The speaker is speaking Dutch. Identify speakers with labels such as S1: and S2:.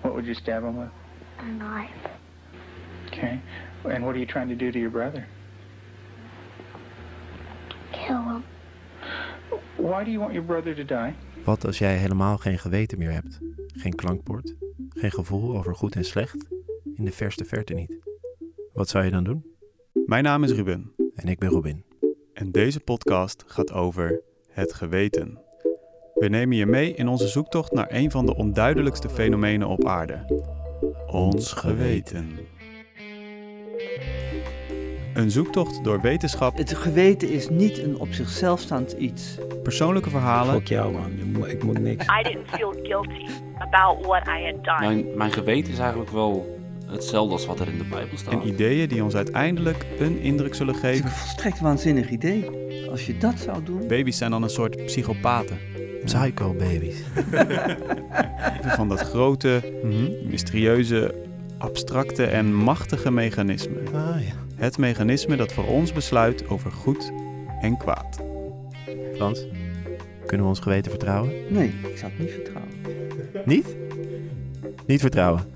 S1: What would you stab him with?
S2: A knife.
S1: Okay. And what are you trying to do to your brother?
S2: Kill him.
S1: Why do you want your brother to die?
S3: Wat als jij helemaal geen geweten meer hebt? Geen klankbord? Geen gevoel over goed en slecht? In de verste verte niet. Wat zou je dan doen?
S4: Mijn naam is Ruben
S3: En ik ben Robin.
S4: en deze podcast gaat over het geweten. We nemen je mee in onze zoektocht naar een van de onduidelijkste fenomenen op aarde. Ons geweten. Een zoektocht door wetenschap,
S5: Het geweten is niet een op zichzelf staand iets.
S4: persoonlijke verhalen
S6: Fuck jou man, Je moet- ik moet niks.
S7: I didn't feel guilty about what I had done.
S8: Mijn, mijn geweten is eigenlijk wel hetzelfde als wat er in de Bijbel staat.
S4: en ideeën die ons uiteindelijk een indruk zullen
S5: Het is
S4: geven.
S5: een volstrekt waanzinnig idee. Als je dat zou doen.
S4: Baby's zijn dan een soort psychopaten.
S3: Psycho babies.
S4: Van dat grote, mysterieuze, abstracte en machtige mechanisme.
S3: Ah ja.
S4: Het mechanisme dat voor ons besluit over goed en kwaad.
S3: Frans, kunnen we ons geweten vertrouwen?
S5: Nee, ik zou het niet vertrouwen.
S3: Niet? Niet vertrouwen.